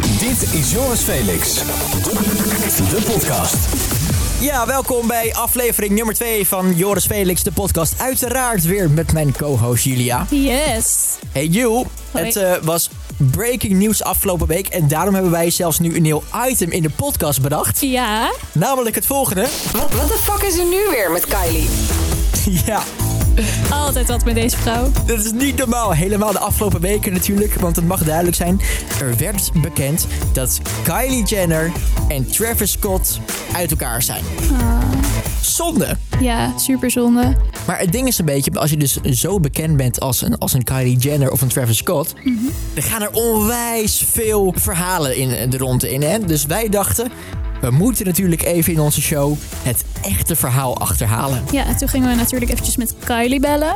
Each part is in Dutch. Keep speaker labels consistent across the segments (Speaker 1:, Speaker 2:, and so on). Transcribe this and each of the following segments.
Speaker 1: Dit is Joris Felix. De podcast.
Speaker 2: Ja, welkom bij aflevering nummer 2 van Joris Felix, de podcast. Uiteraard weer met mijn co-host Julia.
Speaker 3: Yes.
Speaker 2: Hey Jul, het eh, was breaking news afgelopen week. En daarom hebben wij zelfs nu een nieuw item in de podcast bedacht.
Speaker 3: Ja.
Speaker 2: Namelijk het volgende.
Speaker 4: Wat de fuck is er nu weer met Kylie?
Speaker 2: ja,
Speaker 3: Altijd wat met deze vrouw.
Speaker 2: Dit is niet normaal. Helemaal de afgelopen weken natuurlijk, want het mag duidelijk zijn. Er werd bekend dat Kylie Jenner en Travis Scott uit elkaar zijn. Zonde.
Speaker 3: Ja, super zonde.
Speaker 2: Maar het ding is een beetje, als je dus zo bekend bent als een, als een Kylie Jenner of een Travis Scott... er gaan er onwijs veel verhalen in de ronde in. Hè? Dus wij dachten, we moeten natuurlijk even in onze show het echte verhaal achterhalen.
Speaker 3: Ja, toen gingen we natuurlijk eventjes met Kylie bellen.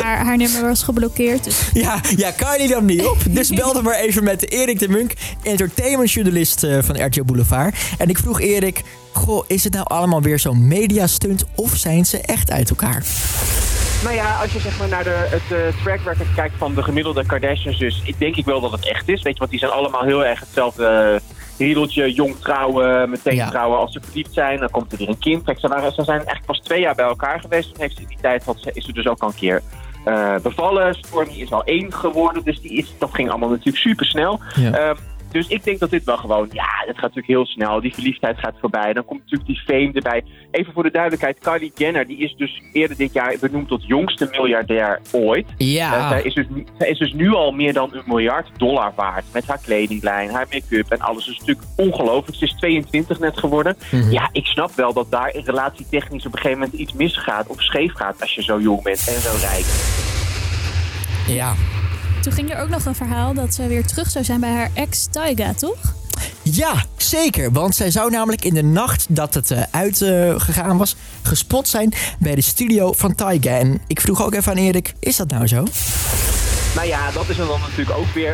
Speaker 3: Maar haar nummer was geblokkeerd. Dus
Speaker 2: Ja, ja, Kylie nam niet op. Dus belde maar even met Erik de Munk, entertainmentjournalist eh, van RTL Boulevard. En ik vroeg Erik, goh, is het nou allemaal weer zo'n mediastunt of zijn ze echt uit elkaar?
Speaker 5: Nou ja, als je zeg maar naar de, het eh, track record kijkt van de gemiddelde Kardashians, dus ik denk ik wel dat het echt is. Weet je, want die zijn allemaal heel erg hetzelfde eh, riedeltje, jong trouwen, meteen
Speaker 2: Ja.
Speaker 5: trouwen. Als ze verliefd zijn, dan komt er weer een kind. Kijk, ze, waren, ze zijn eigenlijk pas twee jaar bij elkaar geweest. Toen heeft ze in die tijd had, ze- is ze dus ook al een keer eh, bevallen. Stormy is al één geworden, dus die is, dat ging allemaal natuurlijk super snel.
Speaker 2: Ja.
Speaker 5: dus ik denk dat dit wel gewoon, ja, dat gaat natuurlijk heel snel. Die verliefdheid gaat voorbij. Dan komt natuurlijk die fame erbij. Even voor de duidelijkheid, Kylie Jenner, die is dus eerder dit jaar benoemd tot jongste miljardair ooit. Eh,
Speaker 2: Ja,
Speaker 5: zij, is dus, nu- zij is dus nu al meer dan een miljard dollar waard. Met haar kledinglijn, haar make-up en alles. Dus natuurlijk ongelooflijk. Ze is 22 net geworden. Ja, ik snap wel dat daar in relatie technisch op een gegeven moment iets misgaat of scheef gaat als je zo jong bent en zo rijk.
Speaker 2: ja.
Speaker 3: toen ging er ook nog een verhaal dat ze weer terug zou zijn bij haar ex Tyga, toch?
Speaker 2: Ja, zeker. Want zij zou namelijk in de nacht dat het eh, uitgegaan was, gespot zijn bij de studio van Tyga. En ik vroeg ook even aan Erik, is dat nou zo?
Speaker 5: Nou ja, dat is dan natuurlijk ook weer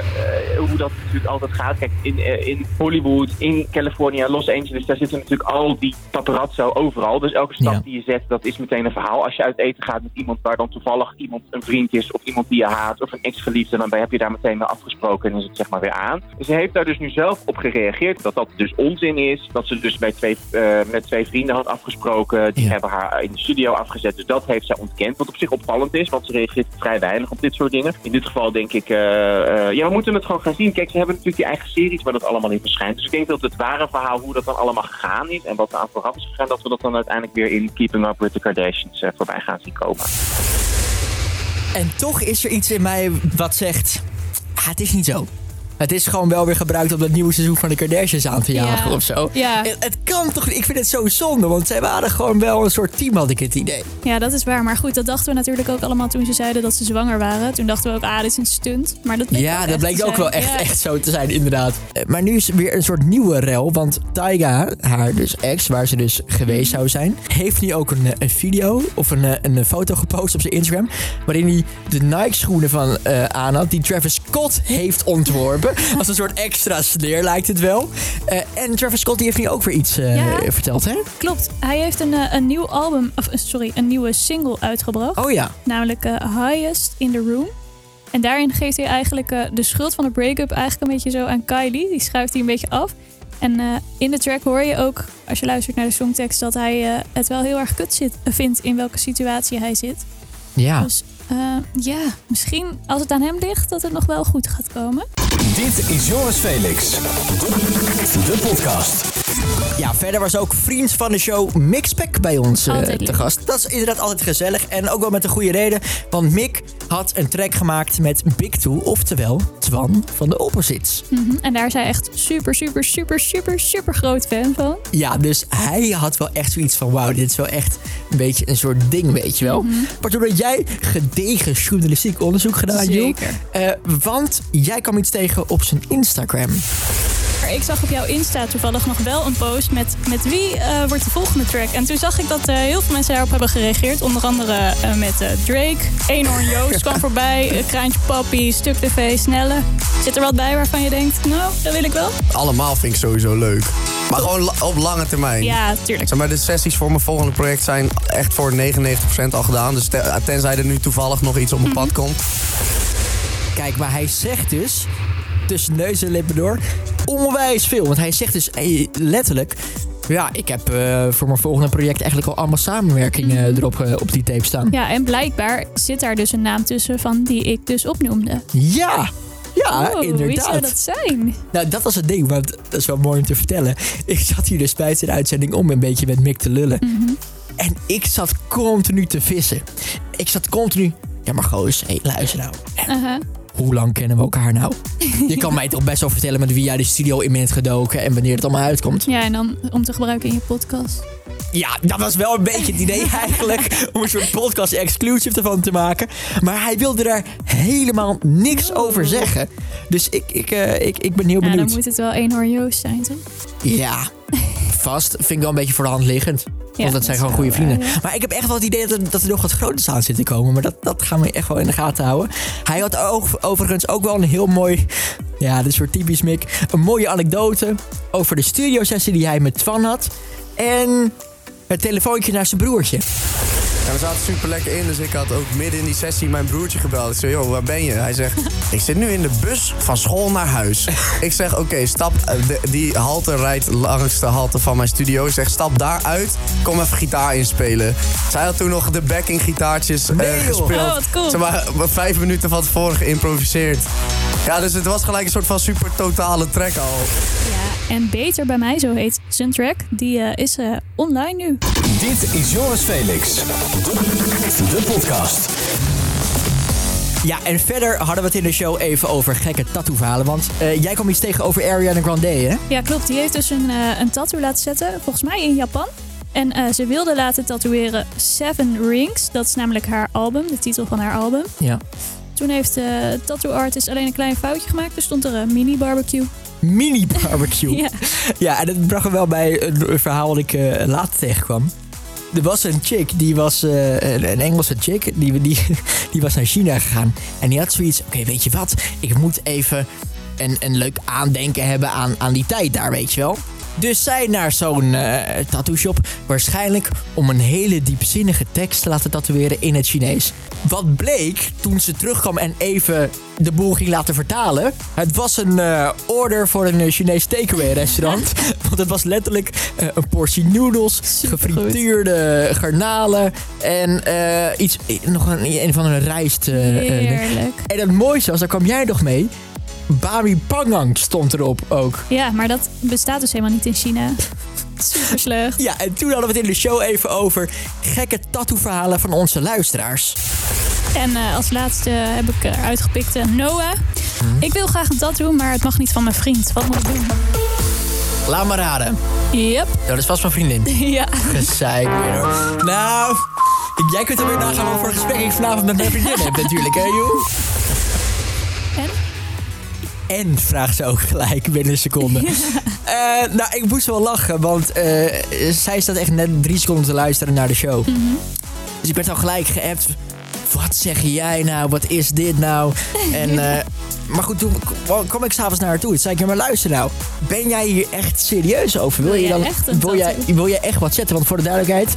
Speaker 5: eh, hoe dat natuurlijk altijd gaat. Kijk, in, eh, in Hollywood, in Californië, Los Angeles, daar zitten natuurlijk al die paparazzo overal. Dus elke stap
Speaker 2: Ja.
Speaker 5: die je zet, dat is meteen een verhaal. Als je uit eten gaat met iemand waar dan toevallig iemand een vriend is of iemand die je haat of een ex-geliefde, dan ben- heb je daar meteen wel afgesproken en is het zeg maar weer aan. Ze heeft daar dus nu zelf op gereageerd dat dat dus onzin is. Dat ze dus bij twee, eh, met twee vrienden had afgesproken. Die
Speaker 2: Ja.
Speaker 5: hebben haar in de studio afgezet. Dus dat heeft zij ontkend. Wat op zich opvallend is, want ze reageert vrij weinig op dit soort dingen. In dit geval denk ik, eh, eh, ja, we moeten het gewoon gaan zien. Kijk, ze hebben natuurlijk die eigen series waar dat allemaal in verschijnt. Dus ik denk dat het ware verhaal, hoe dat dan allemaal gegaan is en wat er aan vooraf is gegaan, dat we dat dan uiteindelijk weer in Keeping Up with the Kardashians eh, voorbij gaan zien komen.
Speaker 2: En toch is er iets in mij wat zegt, ah, het is niet zo. Het is gewoon wel weer gebruikt om dat nieuwe seizoen van de Kardashians aan te
Speaker 3: Ja.
Speaker 2: jagen of zo.
Speaker 3: Ja.
Speaker 2: Het, het kan toch niet? Ik vind het zo zonde, want zij waren gewoon wel een soort team, had ik het idee.
Speaker 3: Ja, dat is waar. Maar goed, dat dachten we natuurlijk ook allemaal toen ze zeiden dat ze zwanger waren. Toen dachten we ook, ah, dit is een stunt. Maar dat bleek
Speaker 2: Ja,
Speaker 3: ook
Speaker 2: dat
Speaker 3: echt
Speaker 2: blijkt
Speaker 3: te
Speaker 2: ook
Speaker 3: zijn.
Speaker 2: wel echt,
Speaker 3: Ja.
Speaker 2: echt zo te zijn, inderdaad. Eh, Maar nu is er weer een soort nieuwe rel, want Taiga, haar dus ex, waar ze dus geweest zou zijn, heeft nu ook een, eh, een video of een, eh, een foto gepost op zijn Instagram, waarin hij de Nike-schoenen van eh aan had, die Travis Scott heeft ontworpen. Als een soort extra sneer lijkt het wel. Eh, en Travis Scott die heeft nu ook weer iets eh,
Speaker 3: Ja.
Speaker 2: verteld, hè?
Speaker 3: Klopt. Hij heeft een, eh, een nieuw album, of eh, sorry, een nieuwe single uitgebracht.
Speaker 2: Oh ja.
Speaker 3: namelijk eh, Highest in the Room. En daarin geeft hij eigenlijk eh, de schuld van de break-up eigenlijk een beetje zo aan Kylie. Die schuift hij een beetje af. En eh, in de track hoor je ook, als je luistert naar de songtekst, dat hij eh, het wel heel erg kut zit, vindt in welke situatie hij zit.
Speaker 2: Ja.
Speaker 3: Dus eh, ja, misschien als het aan hem ligt, dat het nog wel goed gaat komen.
Speaker 1: Dit is Joris Felix. De podcast.
Speaker 2: Ja, verder was ook vriend van de show Mixpack bij ons eh,
Speaker 3: Altijd
Speaker 2: te
Speaker 3: leuk.
Speaker 2: gast. Dat is inderdaad altijd gezellig en ook wel met een goede reden. Want Mick had een track gemaakt met Big Two, oftewel Twan van de Opposites.
Speaker 3: Mhm. En daar is hij echt super, super, super, super, super groot fan van.
Speaker 2: Ja, dus hij had wel echt zoiets van... wauw, dit is wel echt een beetje een soort ding, weet je wel.
Speaker 3: Mhm.
Speaker 2: Maar toen had jij gedegen journalistiek onderzoek gedaan, Jill.
Speaker 3: Zeker.
Speaker 2: Eh, want jij kwam iets tegen op zijn Instagram.
Speaker 3: Maar ik zag op jouw Insta toevallig nog wel een post met, met wie eh, wordt de volgende track. En toen zag ik dat eh, heel veel mensen daarop hebben gereageerd. Onder andere eh, met eh, Drake, Eenhoorn Joost kwam voorbij, eh, Kraantje Papi, Stuk TV, Snelle. Zit er wat bij waarvan je denkt, nou, dat wil ik wel?
Speaker 6: Allemaal vind ik sowieso leuk. Maar gewoon la- op lange termijn.
Speaker 3: Ja, tuurlijk.
Speaker 6: Zeg maar, de sessies voor mijn volgende project zijn echt voor 99% al gedaan. Dus te- tenzij er nu toevallig nog iets op mijn pad komt.
Speaker 2: Kijk, maar hij zegt dus tussen neus en lippen door. Onwijs veel. Want hij zegt dus eh, letterlijk... Ja, ik heb eh, voor mijn volgende project eigenlijk al allemaal samenwerkingen eh, erop eh, op die tape staan.
Speaker 3: Ja, en blijkbaar zit daar dus een naam tussen van die ik dus opnoemde.
Speaker 2: Ja! Ja,
Speaker 3: Oeh, Wie Oh, zou
Speaker 2: Ah, inderdaad.
Speaker 3: dat zijn?
Speaker 2: Nou, dat was het ding, want dat is wel mooi om te vertellen. Ik zat hier dus tijdens de uitzending om een beetje met Mick te lullen.
Speaker 3: Mhm.
Speaker 2: En ik zat continu te vissen. Ik zat continu... Ja, maar goos, hé, luister nou.
Speaker 3: Aha.
Speaker 2: Hoe lang kennen we elkaar nou? Je kan mij toch best wel vertellen met wie jij de studio in bent gedoken... en wanneer het allemaal uitkomt.
Speaker 3: Ja, en dan om te gebruiken in je podcast.
Speaker 2: Ja, dat was wel een beetje het idee eigenlijk. om een soort podcast exclusive ervan te maken. Maar hij wilde daar helemaal niks over zeggen. Dus ik, ik, eh, ik, ik ben heel
Speaker 3: Ja, dan
Speaker 2: benieuwd.
Speaker 3: moet het wel één Joost zijn, toch?
Speaker 2: Ja, vast vind ik wel een beetje voor de hand liggend. Want dat
Speaker 3: dat
Speaker 2: zijn
Speaker 3: is
Speaker 2: gewoon
Speaker 3: wel
Speaker 2: goede vrienden.
Speaker 3: waar, ja.
Speaker 2: Maar ik heb echt wel het idee dat er, dat er nog wat groters aan zit te komen. Maar dat, dat gaan we echt wel in de gaten houden. Hij had ook, overigens ook wel een heel mooi... Ja, dit is soort typisch Mick. Een mooie anekdote over de studiosessie die hij met Twan had. En het telefoontje naar zijn broertje.
Speaker 6: En we zaten super lekker in, dus ik had ook midden in die sessie mijn broertje gebeld. Ik zei, joh, waar ben je? Hij zegt, ik zit nu in de bus van school naar huis. Ik zeg, oké, stap, eh, de- die halte rijdt langs de halte van mijn studio. Ik zeg, stap daaruit, kom even gitaar inspelen. Zij had toen nog de backing gitaartjes eh,
Speaker 2: Nee, joh.
Speaker 6: gespeeld.
Speaker 3: Oh, wat cool.
Speaker 6: Ze waren vijf minuten van tevoren geïmproviseerd. Ja, dus het was gelijk een soort van super totale track al.
Speaker 3: Ja, en Beter bij mij, zo heet zijn track. Die eh, is eh, online nu.
Speaker 1: Dit is Joris Felix. De podcast.
Speaker 2: Ja, en verder hadden we het in de show even over gekke tattoo-verhalen. Want eh, jij kwam iets tegen over Ariana Grande, hè?
Speaker 3: Ja, klopt. Die heeft dus een, eh, een tattoo laten zetten, volgens mij in Japan. En eh, ze wilde laten tatoeëren Seven Rings. Dat is namelijk haar album, de titel van haar album.
Speaker 2: Ja.
Speaker 3: Toen heeft de tattoo artist alleen een klein foutje gemaakt. Er stond er een mini barbecue.
Speaker 2: Mini-barbecue.
Speaker 3: Ja.
Speaker 2: Ja, en dat bracht me wel bij een verhaal dat ik eh, later tegenkwam. Er was een chick, die was eh, een een Engelse chick, die, die, die was naar China gegaan. En die had zoiets, oké, weet je wat? Ik moet even een, een leuk aandenken hebben aan, aan die tijd daar, weet je wel? Dus zij naar zo'n eh tattoo shop, waarschijnlijk om een hele diepzinnige tekst te laten tatoeëren in het Chinees. Wat bleek toen ze terugkwam en even de boel ging laten vertalen. Het was een eh, order voor een eh, Chinees takeaway restaurant. Want het was letterlijk eh, een portie noedels,
Speaker 3: Supergoed.
Speaker 2: gefrituurde garnalen en eh, iets, eh, nog een, een van een rijst. eh, eh, ding.
Speaker 3: Heerlijk.
Speaker 2: en het mooiste was, daar kwam jij nog mee. Bami Pangang stond erop ook.
Speaker 3: Ja, maar dat bestaat dus helemaal niet in China. Super slecht.
Speaker 2: Ja, en toen hadden we het in de show even over gekke tattoo-verhalen van onze luisteraars.
Speaker 3: En eh, als laatste heb ik eruit gepikt eh, Noah.
Speaker 2: Hm?
Speaker 3: Ik wil graag een tattoo, maar het mag niet van mijn vriend. Wat moet ik doen?
Speaker 2: Laat maar raden.
Speaker 3: Yep.
Speaker 2: Dat is vast mijn vriendin.
Speaker 3: Ja.
Speaker 2: Gezeik weer hoor. Nou, jij kunt er weer nagaan wat voor gesprek ik vanavond met mijn vriendin heb natuurlijk, hè joh.
Speaker 3: En?
Speaker 2: En vraagt ze ook gelijk binnen een seconde. Eh, nou, ik moest wel lachen, want eh, zij staat echt net drie seconden te luisteren naar de show.
Speaker 3: Mhm.
Speaker 2: Dus ik werd al gelijk geappt. Wat zeg jij nou? Wat is dit nou? En, eh, maar goed, toen kwam- kwam ik s'avonds naar haar toe. Toen zei ik, ja, maar luister nou. Ben jij hier echt serieus over? Wil,
Speaker 3: Wil
Speaker 2: je
Speaker 3: jij
Speaker 2: dan
Speaker 3: echt een
Speaker 2: wil, jij,
Speaker 3: tattoo?
Speaker 2: wil jij echt wat zetten? Want voor de duidelijkheid,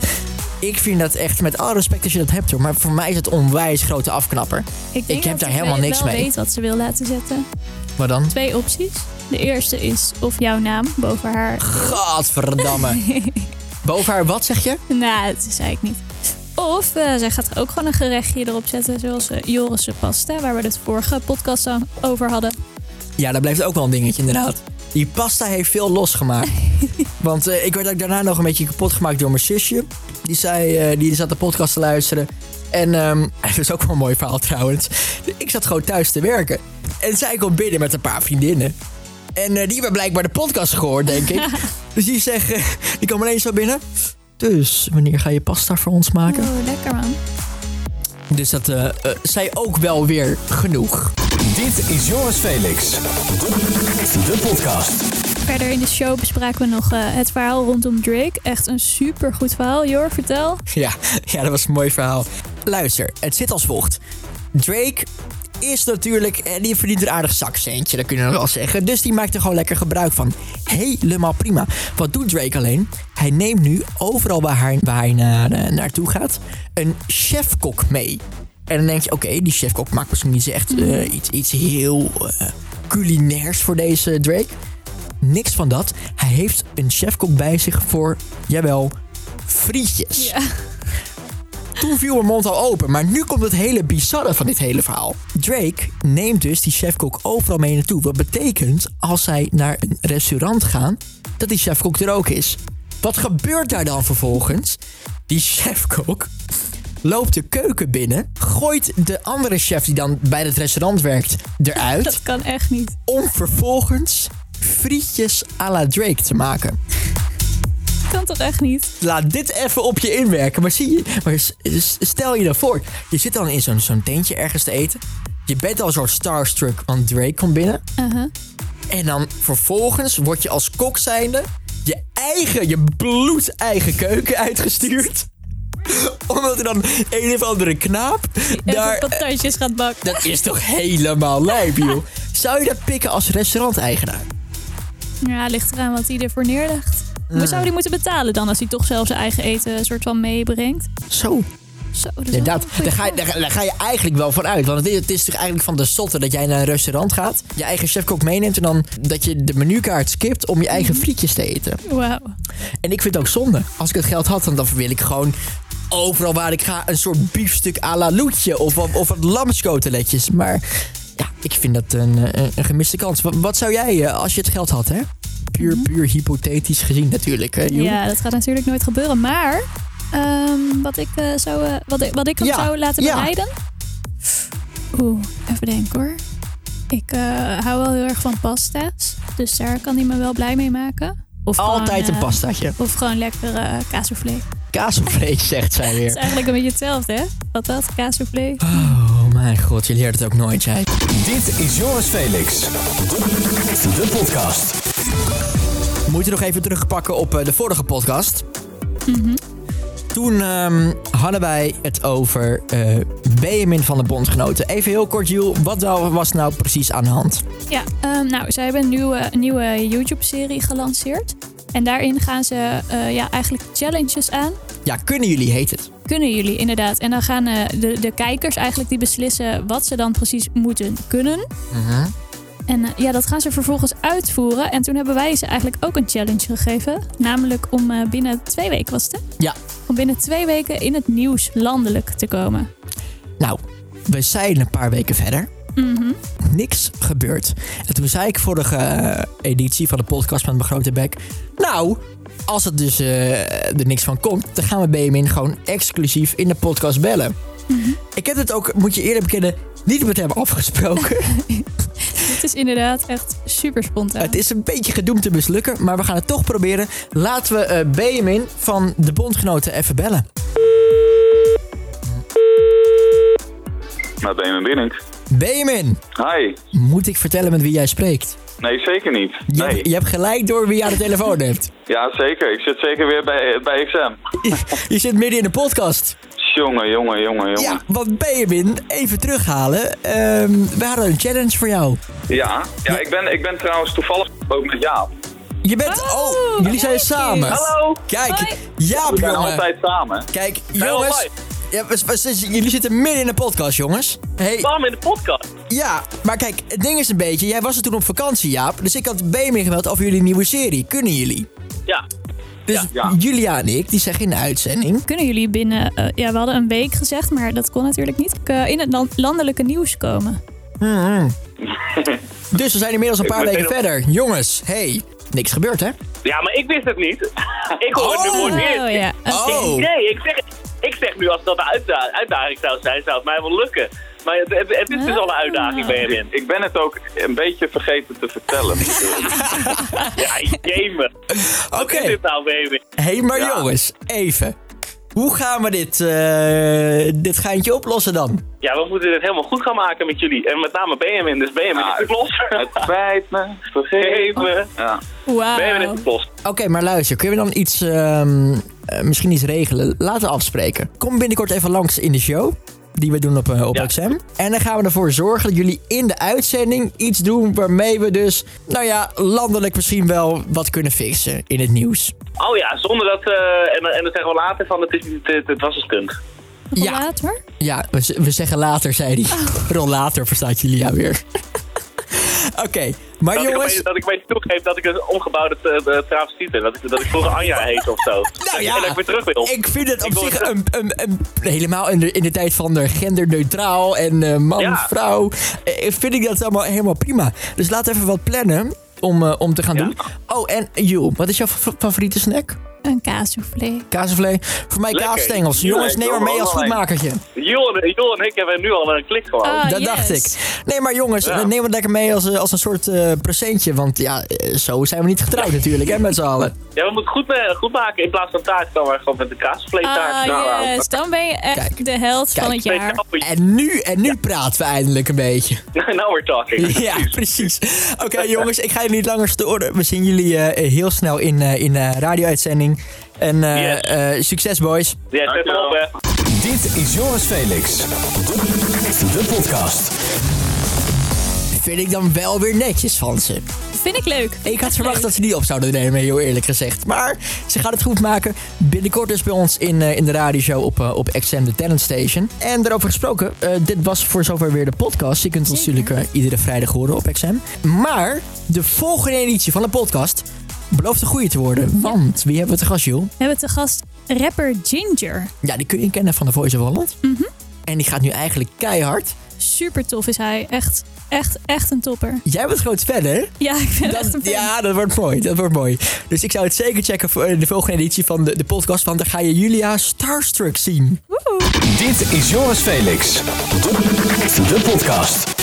Speaker 2: ik vind dat echt met alle respect als je dat hebt hoor. Maar voor mij is het een onwijs grote afknapper.
Speaker 3: Ik,
Speaker 2: Ik
Speaker 3: denk
Speaker 2: heb
Speaker 3: dat
Speaker 2: daar
Speaker 3: ik
Speaker 2: helemaal
Speaker 3: wel-
Speaker 2: niks
Speaker 3: wel
Speaker 2: mee.
Speaker 3: weet wat ze wil laten zetten.
Speaker 2: Maar dan?
Speaker 3: Twee opties. De eerste is of jouw naam boven haar.
Speaker 2: Godverdamme. Boven haar wat zeg je?
Speaker 3: nou, dat is eigenlijk niet. Of eh, zij gaat ook gewoon een gerechtje erop zetten, zoals eh Joris'e pasta, waar we het vorige podcast aan- over hadden.
Speaker 2: Ja, dat blijft ook wel een dingetje inderdaad. Die pasta heeft veel losgemaakt. Want eh, ik werd ook daarna nog een beetje kapot gemaakt door mijn zusje. Die, zei, eh, die zat de podcast te luisteren. En ehm dat is ook wel een mooi verhaal trouwens. Ik zat gewoon thuis te werken. En zij kwam binnen met een paar vriendinnen. En eh, die hebben blijkbaar de podcast gehoord, denk ik. dus die zeggen, die kwam ineens zo binnen. Dus, wanneer ga je pasta voor ons maken?
Speaker 3: Oh, lekker man.
Speaker 2: Dus dat eh eh, zei ook wel weer genoeg.
Speaker 1: Dit is Joris Felix. De podcast.
Speaker 3: Verder in de show bespraken we nog eh, het verhaal rondom Drake. Echt een supergoed verhaal. Jor, vertel.
Speaker 2: Ja, ja, dat was een mooi verhaal. Luister, het zit als volgt. Drake is natuurlijk, eh, die verdient een aardig zakcentje, dat kunnen we wel zeggen. Dus die maakt er gewoon lekker gebruik van. Helemaal prima. Wat doet Drake alleen? Hij neemt nu overal waar hij, waar hij naar, eh, naartoe gaat een chefkok mee. En dan denk je, oké, die chefkok maakt misschien niet echt eh, iets, iets heel eh, culinairs voor deze Drake. Niks van dat. Hij heeft een chefkok bij zich voor, jawel, frietjes.
Speaker 3: Ja.
Speaker 2: Toen viel mijn mond al open, maar nu komt het hele bizarre van dit hele verhaal. Drake neemt dus die chefkok overal mee naartoe. Wat betekent als zij naar een restaurant gaan, dat die chefkok er ook is. Wat gebeurt daar dan vervolgens? Die chefkok loopt de keuken binnen, gooit de andere chef die dan bij het restaurant werkt eruit
Speaker 3: Dat kan echt niet.
Speaker 2: om vervolgens frietjes à la Drake te maken.
Speaker 3: Kan toch echt niet?
Speaker 2: Laat dit even op je inwerken. Maar zie je, maar s- s- stel je dan voor. Je zit dan in zo'n zo'n tentje ergens te eten. Je bent al een soort starstruck, want Drake komt binnen. En dan vervolgens word je als kok zijnde je eigen, je bloedeigen keuken uitgestuurd. Omdat er dan een of andere knaap daar... eh,
Speaker 3: Even patatjes gaat bakken.
Speaker 2: Dat is toch helemaal lijp, joh. Zou je dat pikken als restauranteigenaar?
Speaker 3: Ja, ligt eraan wat hij ervoor neerlegt. Hoe zou hij moeten betalen dan als hij toch zelf zijn eigen eten een soort van meebrengt?
Speaker 2: Zo,
Speaker 3: Zo, dat is
Speaker 2: Inderdaad,
Speaker 3: wel
Speaker 2: daar
Speaker 3: een goeie
Speaker 2: ga, je, daar,
Speaker 3: vraag.
Speaker 2: ga- daar ga je eigenlijk wel van uit. Want het is, het is toch eigenlijk van de zotte dat jij naar een restaurant gaat, je eigen chefkok meeneemt en dan dat je de menukaart skipt om je eigen
Speaker 3: Mhm.
Speaker 2: frietjes te eten.
Speaker 3: Wauw.
Speaker 2: En ik vind het ook zonde. Als ik het geld had, dan, dan wil ik gewoon overal waar ik ga een soort biefstuk à la loetje of, of, of wat lamscoteletjes. Maar ja, ik vind dat een, eh, een, een gemiste kans. Wat, wat zou jij eh, als je het geld had, hè? Puur, puur hypothetisch gezien natuurlijk, hè, Joen?
Speaker 3: Mhm. Ja, dat gaat natuurlijk nooit gebeuren. Maar ehm, wat ik eh, zou, eh, wat ik, wat ik hem
Speaker 2: Ja,
Speaker 3: zou laten
Speaker 2: ja.
Speaker 3: bereiden. Oeh, even denken hoor. Ik eh, hou wel heel erg van pasta's. Dus daar kan hij me wel blij mee maken. Of
Speaker 2: Altijd
Speaker 3: gewoon,
Speaker 2: een
Speaker 3: eh,
Speaker 2: pastaatje.
Speaker 3: Of gewoon lekker eh kaassoufflé.
Speaker 2: Kaas of vlees, zegt zij
Speaker 3: Het is
Speaker 2: weer.
Speaker 3: eigenlijk een beetje hetzelfde, hè? Wat dat? Kaassoufflé.
Speaker 2: Oh mijn god, je leert het ook nooit, jij.
Speaker 1: Dit is Joris Felix. De podcast.
Speaker 2: We moeten nog even terugpakken op eh, de vorige podcast. Toen ehm, hadden wij het over eh Benjamin van de Bondgenoten. Even heel kort, Jules, wat nou- was nou precies aan de hand?
Speaker 3: Ja, ehm, nou, zij hebben een nieuwe, een nieuwe YouTube-serie gelanceerd. En daarin gaan ze eh, ja, eigenlijk challenges aan.
Speaker 2: Ja, kunnen jullie heet het?
Speaker 3: kunnen jullie inderdaad. En dan gaan eh, de, de kijkers eigenlijk die beslissen wat ze dan precies moeten kunnen. En eh, ja, dat gaan ze vervolgens uitvoeren. En toen hebben wij ze eigenlijk ook een challenge gegeven. Namelijk om eh, binnen twee weken, was het hè?
Speaker 2: Ja.
Speaker 3: Om binnen twee weken in het nieuws landelijk te komen.
Speaker 2: Nou, we zijn een paar weken verder. Niks gebeurd. En toen zei ik vorige eh, editie van de podcast met mijn grote bek. Nou, als het dus eh, er niks van komt, dan gaan we Benjamin gewoon exclusief in de podcast bellen. Ik heb het ook, moet je eerlijk bekennen, niet met hem afgesproken.
Speaker 3: Dit is inderdaad echt super spontaan.
Speaker 2: Het is een beetje gedoemd te mislukken, maar we gaan het toch proberen. Laten we eh Benjamin van de Bondgenoten even bellen.
Speaker 7: Nou, Damon Binnink.
Speaker 2: Benjamin,
Speaker 7: Hi.
Speaker 2: moet ik vertellen met wie jij spreekt?
Speaker 7: Nee, zeker niet.
Speaker 2: Je,
Speaker 7: Nee.
Speaker 2: je hebt gelijk door wie je aan de telefoon hebt.
Speaker 7: Ja, zeker. Ik zit zeker weer bij, bij XM.
Speaker 2: Je zit midden in de podcast.
Speaker 7: Jongen, jongen, jongen, jongen.
Speaker 2: Ja, want Benjamin, even terughalen. Ehm, we hadden een challenge voor jou.
Speaker 7: ja. Ja, ik, ben, ik ben trouwens toevallig ook met Jaap.
Speaker 2: Je bent...
Speaker 3: Oh,
Speaker 2: Oh, jullie zijn
Speaker 3: kijk
Speaker 2: samen.
Speaker 3: eens.
Speaker 7: Hallo.
Speaker 2: Kijk,
Speaker 3: Hoi.
Speaker 2: Jaap,
Speaker 7: We zijn
Speaker 2: jongen.
Speaker 7: altijd samen.
Speaker 2: Kijk,
Speaker 7: Zijn we
Speaker 2: jongens.
Speaker 7: live?
Speaker 2: Ja, we- we- we- jullie zitten midden in de podcast, jongens. Hey,
Speaker 7: Samen in de podcast.
Speaker 2: ja, maar kijk, het ding is een beetje... Jij was er toen op vakantie, Jaap. Dus ik had Benjamin gemeld over jullie nieuwe serie. Kunnen jullie?
Speaker 7: Ja.
Speaker 2: Dus
Speaker 7: Ja, ja.
Speaker 2: Julia en ik, die zeggen in de uitzending...
Speaker 3: Kunnen jullie binnen, eh, ja, we hadden een week gezegd, maar dat kon natuurlijk niet, eh, in het lan- landelijke nieuws komen.
Speaker 2: Dus we zijn inmiddels een paar
Speaker 7: ben
Speaker 2: weken
Speaker 7: meteen
Speaker 2: verder. Jongens, hey, niks gebeurd, hè?
Speaker 8: Ja, maar ik wist het niet. Ik hoor het nu voor het eerst.
Speaker 3: Oh ja. Oké.
Speaker 2: Oh.
Speaker 8: Nee, ik zeg, ik zeg nu als dat een uitda- uitdaging zou zijn, zou het mij wel lukken. Maar het, het, het is dus al een uitdaging bij hem in.
Speaker 7: Ik ben het ook een beetje vergeten te vertellen.
Speaker 8: Ja, gamen.
Speaker 2: Ah. Oké.
Speaker 8: Wat is dit nou, baby?
Speaker 2: Hé, hey, maar
Speaker 7: Ja.
Speaker 2: jongens, even. Hoe gaan we dit, eh, dit geintje oplossen dan?
Speaker 8: Ja, we moeten dit helemaal goed gaan maken met jullie. En met name Benjamin. Dus Benjamin
Speaker 7: Ja,
Speaker 2: Ah.
Speaker 8: is het los.
Speaker 7: het spijt me. Vergeet me.
Speaker 8: Gamen.
Speaker 2: Oh.
Speaker 7: Ja.
Speaker 8: Benjamin is
Speaker 3: Wauw.
Speaker 8: het los.
Speaker 2: Oké, maar luister, kunnen we dan iets, ehm, eh, misschien iets regelen? Laten we afspreken. Kom binnenkort even langs in de show, die we doen op, eh, op
Speaker 8: Ja.
Speaker 2: XM. En dan gaan we ervoor zorgen dat jullie in de uitzending iets doen waarmee we dus, nou ja, landelijk misschien wel wat kunnen fixen in het nieuws.
Speaker 8: Oh ja, zonder dat... eh, en, en dan zeggen we later van, het, is, niet- het, het was een stunt.
Speaker 2: Ja.
Speaker 3: Later.
Speaker 2: Oh. Ja, we, z- we zeggen later, zei hij. Rol later, verstaat jullie ja weer. Oké, maar
Speaker 8: Dat,
Speaker 2: jongens...
Speaker 8: ik opeens- dat ik opeens toegeef dat ik een omgebouwde eh, eh, travestiet ben. Dat ik, dat ik vroeger Anja heet of zo.
Speaker 2: Nou ja,
Speaker 8: En dat ik weer terug wil.
Speaker 2: Ik vind het op
Speaker 8: Ik wil
Speaker 2: zich
Speaker 8: het-
Speaker 2: een, een, een, helemaal in de, in de tijd van eh, genderneutraal en eh, man,
Speaker 8: Ja.
Speaker 2: vrouw. eh, vind ik dat allemaal helemaal prima. Dus laten we even wat plannen om, eh, om te gaan
Speaker 8: Ja.
Speaker 2: doen. Oh, en Joel, wat is jouw fa- favoriete snack?
Speaker 3: Een kaassoufflé.
Speaker 2: Kaasvlee? Voor mij
Speaker 8: Lekker.
Speaker 2: kaasstengels.
Speaker 8: Jullie
Speaker 2: Jongens, neem maar
Speaker 8: komen
Speaker 2: mee als
Speaker 8: allemaal
Speaker 2: goedmakertje.
Speaker 8: Joel, en- Joel en ik hebben nu al een klik gewoon.
Speaker 3: Ah,
Speaker 2: dat
Speaker 3: yes.
Speaker 2: dacht ik. Nee, maar jongens,
Speaker 8: Ja.
Speaker 2: eh, neem het lekker mee als, eh, als een soort eh, presentje. Want ja, eh, zo zijn we niet getrouwd natuurlijk, hè, met z'n allen.
Speaker 8: Ja, we moeten goed, eh, goed maken. In plaats van taart dan maar gewoon met de kaasvleetaart.
Speaker 3: Ah, yes. Dan ben je echt
Speaker 2: Kijk.
Speaker 3: de held
Speaker 2: Kijk.
Speaker 3: van het jaar.
Speaker 2: En nu, en nu praten we eindelijk een beetje.
Speaker 8: Now we're talking.
Speaker 2: Ja, precies. Oké jongens, ik ga je niet langer storen. We zien jullie eh, heel snel in, eh, in eh radio-uitzending. En eh,
Speaker 8: Yes.
Speaker 2: eh, succes boys.
Speaker 8: Ja, zet hem op, hè.
Speaker 1: Dit is Joris Felix. De podcast.
Speaker 2: Vind ik dan wel weer netjes van ze.
Speaker 3: Vind ik leuk.
Speaker 2: Ik had verwacht dat ze die op zouden nemen, heel eerlijk gezegd. Maar ze gaat het goed maken. Binnenkort dus bij ons in, eh, in de radioshow op, eh, op XM, de Talent Station. En daarover gesproken, eh, dit was voor zover weer de podcast. Je kunt ons natuurlijk eh, iedere vrijdag horen op XM. Maar de volgende editie van de podcast belooft een goede te worden. Want wie hebben we te gast, Jules?
Speaker 3: We hebben te gast rapper Ginger.
Speaker 2: Ja, die kun je kennen van de Voice of Holland.
Speaker 3: Mhm.
Speaker 2: En die gaat nu eigenlijk keihard.
Speaker 3: Super tof is hij. Echt, echt, echt een topper.
Speaker 2: Jij bent groot fan, hè?
Speaker 3: Ja, ik ben echt een
Speaker 2: Dat,
Speaker 3: fan.
Speaker 2: ja, dat wordt mooi. Dat wordt mooi. Dus ik zou het zeker checken voor eh, de volgende editie van de, de podcast. Want dan ga je Julia Starstruck zien.
Speaker 1: Dit is Joris Felix. De podcast.